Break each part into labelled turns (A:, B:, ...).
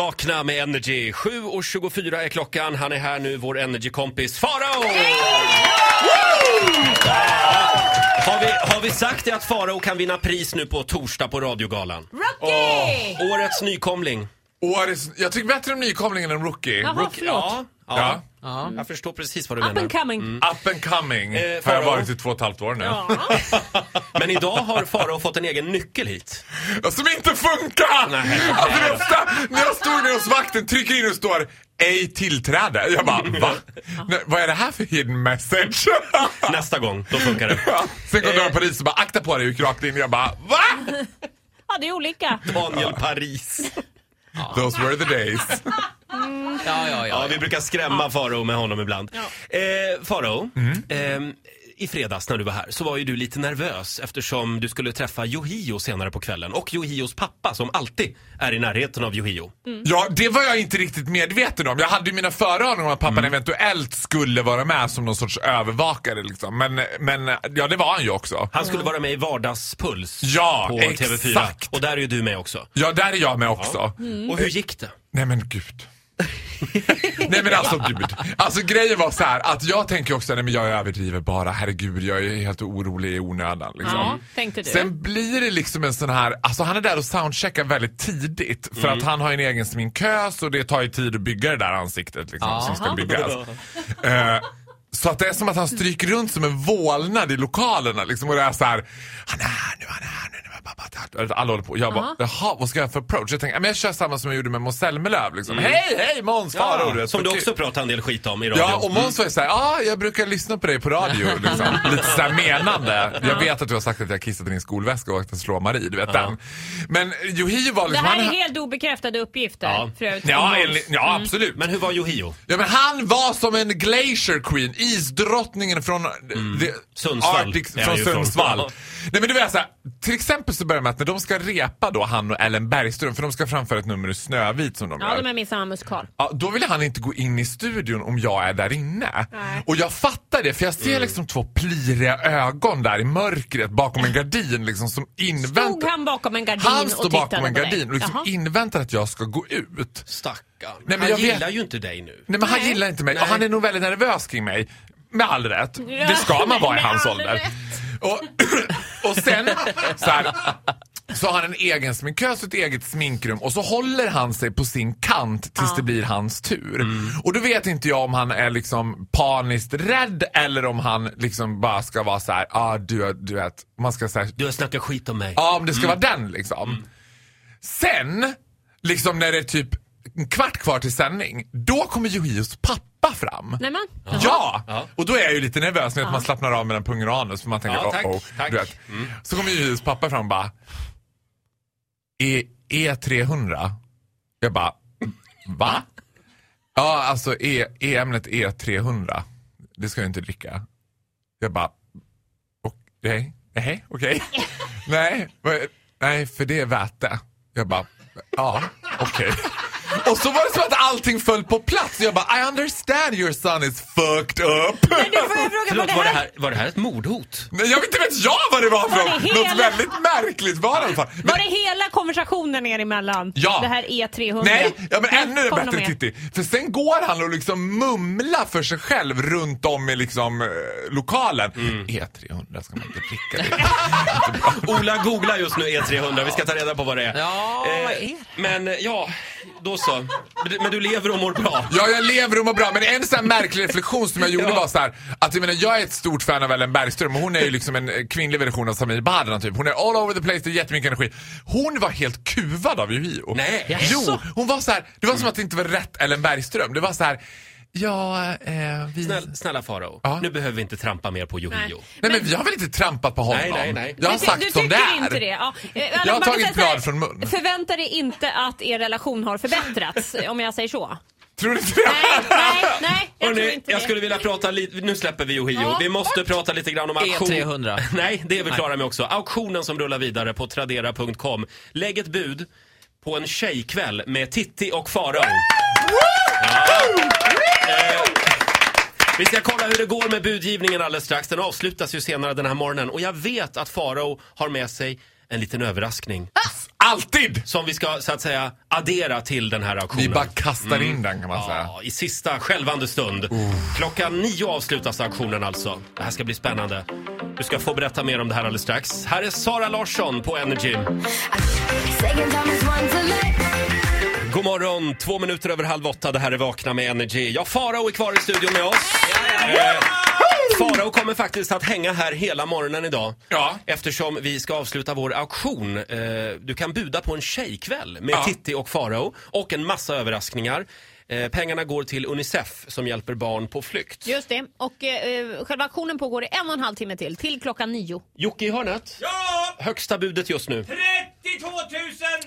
A: Vakna med Energy. 7.24 är klockan. Han är här nu, vår Energy-kompis Farao! Woo! Har vi, har vi sagt det att Farao kan vinna pris nu på torsdag på radiogalan?
B: Rocky!
A: Årets nykomling.
C: Årets, jag tycker bättre om nykomlingen än rookie.
B: Jaha,
C: rookie.
B: förlåt.
A: ja. ja. Jag förstår precis vad du
B: Up
A: menar.
B: and coming.
C: Up and coming
A: Eh,
C: har jag
A: Farao?
C: varit i två och ett halvt år nu.
B: Mm. Ja.
A: Men idag har Farao fått en egen nyckel hit.
C: Som inte funkar!
A: Nej.
C: Alltså, det värsta, när jag stod nere hos vakten, trycker in och står ej tillträde. Jag bara,
B: Mm.
C: va? Nej, vad är det här för hidden message?
A: Nästa gång, då funkar det.
C: Ja, Sen
B: Eh.
C: kom dörren på Paris och bara, akta på dig, gick rakt in. Jag bara, va?
B: ja, det är olika.
C: Mm.
A: Daniel Paris.
C: Those were the days.
D: Ja, ja,
A: Ja,
D: ja.
A: vi brukar skrämma Farao med honom ibland. Eh, Farao,
C: Mm.
A: ehm, i fredags när du var här så var ju du lite nervös eftersom du skulle träffa Yohio senare på kvällen och Yohios pappa som alltid är i närheten av Yohio.
B: Mm.
C: Ja, det var jag inte riktigt medveten om. Jag hade ju mina föraningar om att pappan
B: Mm.
C: eventuellt skulle vara med som någon sorts övervakare liksom. Men, men ja, det var han ju också.
A: Han skulle vara med i Vardagspuls
C: Ja,
A: på TV4
C: exakt.
A: och där är ju du med också.
C: Ja, där är jag med också.
A: Och hur gick det?
C: Nej men gud. nej men alltså gud. Alltså grejen var så här att jag tänker också, nej men jag överdriver bara, herregud jag är helt orolig i onödan liksom.
B: Ja, tänkte du.
C: Sen blir det liksom en sån här, alltså han är där och soundcheckar väldigt tidigt för att han har en egen sminkös och det tar ju tid att bygga det där ansiktet liksom, som ska byggas. Eh, så att det är som att han stryker runt som en vålnad i lokalerna liksom och det är så här, han är här nu, han är här nu. nu, ba, ba, ba." Alla håller på. Jag bara, jaha, vad ska jag ha för approach? Jag tänker, "Ja, men jag kör samma som jag gjorde med Måns Zelmerlöw. Liksom. Hej, hej Måns! Farao, vet,
A: Mm. som
C: så
A: du
C: kul.
A: också pratar en del skit om i radio.
C: Ja, och Måns var ju såhär, ja, jag brukar lyssna på dig på radio. Liksom. Lite såhär menande. Jag vet att du har sagt att jag kissat i din skolväska och att jag slår Marie, du vet den. Men Yohio var
B: Det
C: liksom...
B: här är
C: han-
B: helt obekräftade uppgifter.
A: Ja.
B: För övrigt.
C: Ja, enligt- ja absolut.
A: Mm. Men hur var Yohio?
C: Ja, men han var som en glacier queen, isdrottningen från the-
A: Mm. Sundsvall är han
C: från
A: ju från.
C: Sundsvall.
A: Ja.
C: Nej men du vet såhär, till exempel så börjar det med att när de ska repa då han och Ellen Bergström, för de ska framföra ett nummer ur Snövit som de
B: Ja,
C: gör.
B: de är min samma musikal.
C: Ja, då vill han inte gå in i studion om jag är där inne. Och jag fattar det för jag ser
A: Mm.
C: liksom två pliriga ögon där i mörkret bakom en gardin liksom som
B: Stod
C: inväntar.
B: han bakom en gardin
C: Han
B: och
C: står
B: tittade
C: bakom en
B: på dig?
C: gardin och liksom
B: Jaha.
C: inväntar att jag ska gå ut.
A: Stackarn.
C: men
A: han
C: jag
A: gillar
C: vet-
A: ju inte dig nu.
C: Nej men han gillar inte mig och han är nog väldigt nervös kring mig. Med all rätt.
B: Ja,
C: Det ska man vara i
B: med
C: hans
B: all
C: ålder.
B: rätt.
C: Och, och sen så, här, så har han en egen sminkös och ett eget sminkrum och så håller han sig på sin kant tills det blir hans tur. Och då vet inte jag om han är liksom paniskt rädd eller om han liksom bara ska vara så här, ah, du, du vet, man ska säga
A: Du har snackat skit om mig.
C: Ja, om det ska vara den liksom. Sen, liksom när det är typ en kvart kvar till sändning, då kommer Yohios pappa fram.
B: Nej, men.
C: Ja!
A: Ja.
C: Och då är jag ju lite nervös med att man slappnar av mellan pungen och anus för man tänker
A: Ja, tack,
C: oh, oh,
A: tack. Mm.
C: Du vet. Så kommer Yohios pappa fram och bara e E300? Jag bara, va? Ja, alltså e E-ämnet E300. Det ska jag inte dricka. Jag bara, och- nej, nej, okej. nej, vad- nej, för det är väte. Jag bara, ja, okej. Och så var det som att allting föll på plats. Jag bara, I understand your son is fucked up.
B: Men du får jag fråga
A: Förlåt,
B: vad
A: var
B: det
A: det,
B: här...
A: här, var det här ett mordhot?
C: Nej, jag vet inte vet jag vad det var för
B: Var det
C: något.
B: hela-
C: Något väldigt märkligt var det i alla fall. Men-
B: Var det hela konversationen er emellan?
C: Ja.
B: Det här E300?
C: Nej, ja, men
B: Nej,
C: ännu
B: kom
C: bättre
B: med.
C: Titti. För sen går han och liksom mumlar för sig själv runt om i liksom eh, lokalen.
A: Mm.
C: E300 ska man inte dricka det.
A: Ola googlar just nu E300, vi ska ta reda på vad det är.
D: Ja, vad är det?
A: Men eh, ja, då så. Men du- Men du lever och mår bra.
C: Ja, jag lever och mår bra. Men en sån här märklig reflektion som jag gjorde
A: Ja.
C: var så här, att jag menar, jag är ett stort fan av Ellen Bergström och hon är ju liksom en eh, kvinnlig version av Samir Badran typ. Hon är all over the place, det är jättemycket energi. Hon var helt kuvad av Yohio.
A: Nej.
C: Jo, hon var så här, det
A: Mm.
C: var som att det inte var rätt Ellen Bergström. Det var så här, ja, eh, vi...
A: Snäll, snälla Farao,
C: Ja.
A: nu behöver vi inte trampa mer på Yohio.
B: Nej.
C: Nej men, vi har väl inte trampat på honom?
A: Nej, nej, nej.
C: Jag har
B: Men du,
C: sagt
B: du
C: som det
B: tycker
C: är.
B: Inte det. Ja. Eh, Allan,
C: Jag har
B: man kan
C: tagit
B: säga så här,
C: blad från mun.
B: Förvänta dig inte att er relation har förbättrats, om jag säger så.
C: Tror du inte det?
B: Nej, nej, nej. Jag tror
A: Hörrni,
B: inte
A: jag
B: det.
A: skulle vilja prata lite, nu släpper vi Yohio.
B: Ja,
A: vi måste
B: bort.
A: prata lite grann om auktion.
D: E300.
A: Nej, det är vi klara med också. Auktionen som rullar vidare på Tradera.com. Lägg ett bud på en tjejkväll med Titti och Farao. Eh, Vi ska kolla hur det går med budgivningen alldeles strax. Den avslutas ju senare den här morgonen. Och jag vet att Farao har med sig en liten överraskning.
C: Alltid!
A: Som vi ska så att säga addera till den här auktionen.
C: Vi bara kastar in den kan man säga.
A: Ja, i sista skälvande stund. Klockan nio avslutas auktionen alltså. Det här ska bli spännande. Du ska få berätta mer om det här alldeles strax. Här är Sara Larsson på Energy. God morgon, två minuter över halv åtta. Det här är Vakna med Energy. Ja, Farao är kvar i studion med oss. Eh, Farao kommer faktiskt att hänga här hela morgonen idag.
C: Ja.
A: Eftersom vi ska avsluta vår auktion. Eh, Du kan buda på en tjejkväll med
C: Ja.
A: Titti och Farao och en massa överraskningar. Eh, Pengarna går till Unicef som hjälper barn på flykt.
B: Just det. Och eh, själva auktionen pågår i en och en halv timme till, till klockan nio.
A: Jocke i hörnet,
E: Ja!
A: högsta budet just nu.
E: 32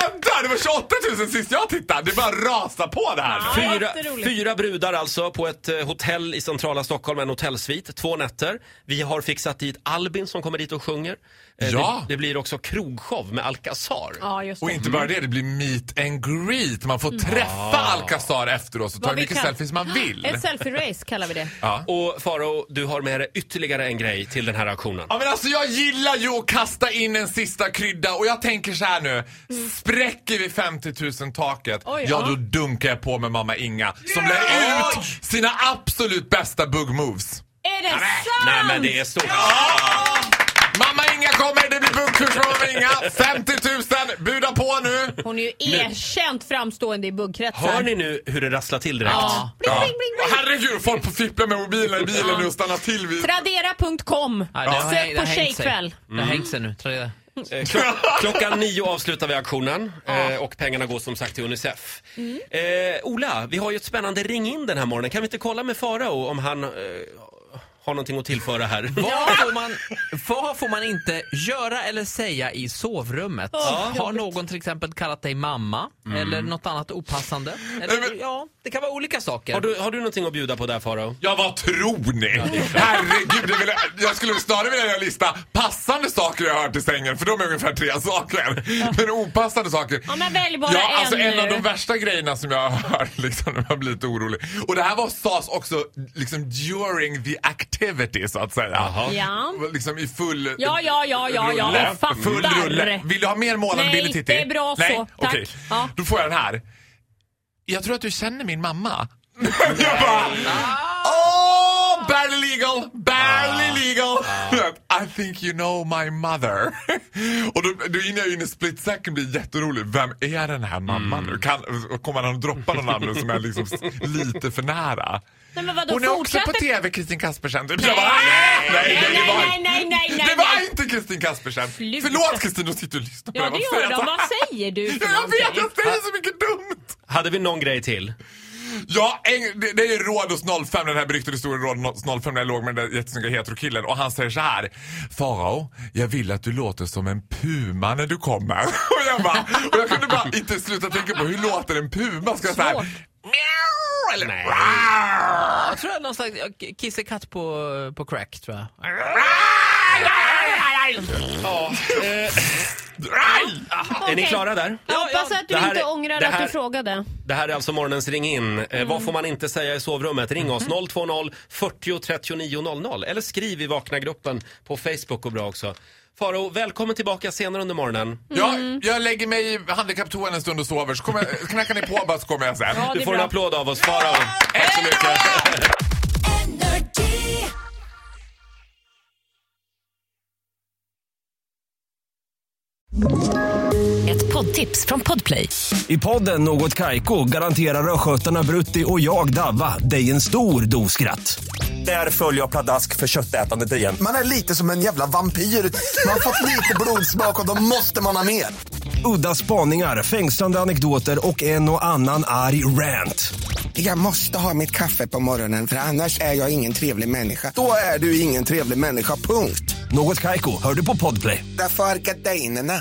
C: jag dör! Det var 28 000 sist jag tittade. Det bara rasar på det här.
B: Ja.
A: Fyra,
B: jätteroligt.
A: fyra brudar alltså på ett eh, hotell i centrala Stockholm, en hotellsvit, två nätter. Vi har fixat dit Albin som kommer dit och sjunger. Eh,
C: Ja.
A: Det, det blir också krogshow med Alcazar.
B: Ja, just
C: Och
B: det.
C: inte bara det, det blir meet and greet. Man får träffa Alcazar efteråt och ta
B: Vad
C: hur
B: vi
C: mycket
B: kan-
C: selfies man vill.
B: Ett selfie-race kallar vi det.
C: Ja.
A: Och Faro, du har med dig ytterligare en grej till den här auktionen.
C: Ja men alltså jag gillar ju att kasta in en sista krydda och jag tänker så här nu. Spräcker vi 50 000 taket,
B: Oj,
C: ja
B: ja.
C: då dunkar jag på med mamma Inga som lär ut sina absolut bästa bug moves.
B: Är det sant?
A: Nej men det är stort.
C: Mamma Inga kommer, det blir buggkurs med mamma Inga. 50 000, buda på nu.
B: Hon är ju erkänt framstående i buggkretsar.
A: Hör ni nu hur det rasslar till direkt?
B: Ja. Bling, bling, bling,
C: Och
B: bling.
C: herregud, folk får fippla med mobilen i bilen nu och stanna till vid...
B: Tradera.com.
E: Ja, det har- det har
B: Sök på
E: hängt sig.
B: tjejkväll.
E: Det har hängt sig nu. Tror jag det.
A: Eh, klock- Klockan nio avslutar vi auktionen eh, och pengarna går som sagt till Unicef. Eh, Ola, vi har ju ett spännande ring in den här morgonen. Kan vi inte kolla med Farao om han eh, har någonting att tillföra här?
E: Vad får, man, vad får man inte göra eller säga i sovrummet? Har någon till exempel kallat dig mamma? Eller något annat opassande? Eller, ja, det kan vara olika saker.
A: Har du, har du någonting att bjuda på där Farao?
C: Ja, vad tror ni? Herregud, det vill jag, jag skulle snarare vilja göra en lista passande saker jag har hört i sängen, för de är ungefär tre saker. Men opassande saker.
B: Ja, men välj bara
C: ja, alltså,
B: en
C: En av
B: nu.
C: de värsta grejerna som jag har hört, liksom, när jag blir lite orolig. Och det här var sas också liksom during the activity, så att säga.
B: Ja.
C: Liksom i full...
B: Ja, ja, ja, ja, ja.
C: rulle.
B: Jag fattar.
C: Full rulle. Vill du ha mer målande
B: Nej,
C: bilder Titti?
B: det är bra
C: Nej,
B: så. Tack.
C: okej.
B: Ja.
C: Då får jag den här. Jag tror att du känner min mamma. jag bara... Oh, barely legal, barely legal. I think you know my mother. och då, då innan jag är inne i split second blir jag jätterolig. Vem är den här mamman nu? Kan, kommer han att droppa någon namn nu som är liksom s- lite för nära?
B: Nej, men vadå,
C: Hon är också på
B: fortsätter-
C: TV, Kristin Kaspersen. Typ. Jag bara, nej, nej, nej, det var
B: nej, nej, nej, nej,
C: det var
B: nej.
C: inte Kristin Kaspersen!
B: Sluta.
C: Förlåt Kristin, de sitter och lyssnar på
B: Ja, det
C: det
B: gör de. Vad säger du för
C: Ja, jag vet,
B: någonting?
C: jag säger så mycket dumt!
A: Hade vi någon grej till?
C: Ja, en, det, det är ju Rhodos 05, den här beryktade historien Rhodos 05 när jag låg med den där jättesnygga heterokillen och han säger så här. Farao, jag vill att du låter som en puma när du kommer. Och jag bara, och jag kunde bara inte sluta tänka på hur låter en puma? Ska jag säga
B: Svårt.
C: Mjau! Eller
A: Nej.
C: "Rar!"
E: Jag tror jag någon slags ja, kissekatt på, på crack, tror jag.
C: Rar!
A: Är ni klara där?
B: Jag hoppas att du
A: Det här
B: inte
A: är-
B: ångrar
A: det här-
B: att du frågade.
A: Det här är alltså morgonens ring in. Eh, Vad får man inte säga i sovrummet? Ring oss 020 40 39 00 eller skriv i Vakna-gruppen på Facebook och bra också. Farao, välkommen tillbaka senare under morgonen.
C: Ja,
B: Mm.
C: jag lägger mig i handikapptoan en stund och sover så kommer jag, knackar ni på bara så kommer jag sen.
B: Ja, det
A: Du
B: är
A: får en
B: bra.
A: applåd av oss, Farao. Tack så mycket.
F: Ett poddtips från Podplay.
G: I podden Något Kaiko garanterar östgötarna Brutti och jag, Davva, dig en stor dos skratt. Där följer jag pladask för köttätandet igen.
H: Man är lite som en jävla vampyr. Man har fått lite blodsmak och då måste man ha mer.
G: Udda spaningar, fängslande anekdoter och en och annan arg rant.
H: Jag måste ha mitt kaffe på morgonen för annars är jag ingen trevlig människa. Då är du ingen trevlig människa, punkt.
G: Något Kaiko, hör du på Podplay.
H: Därför arkadeinerna.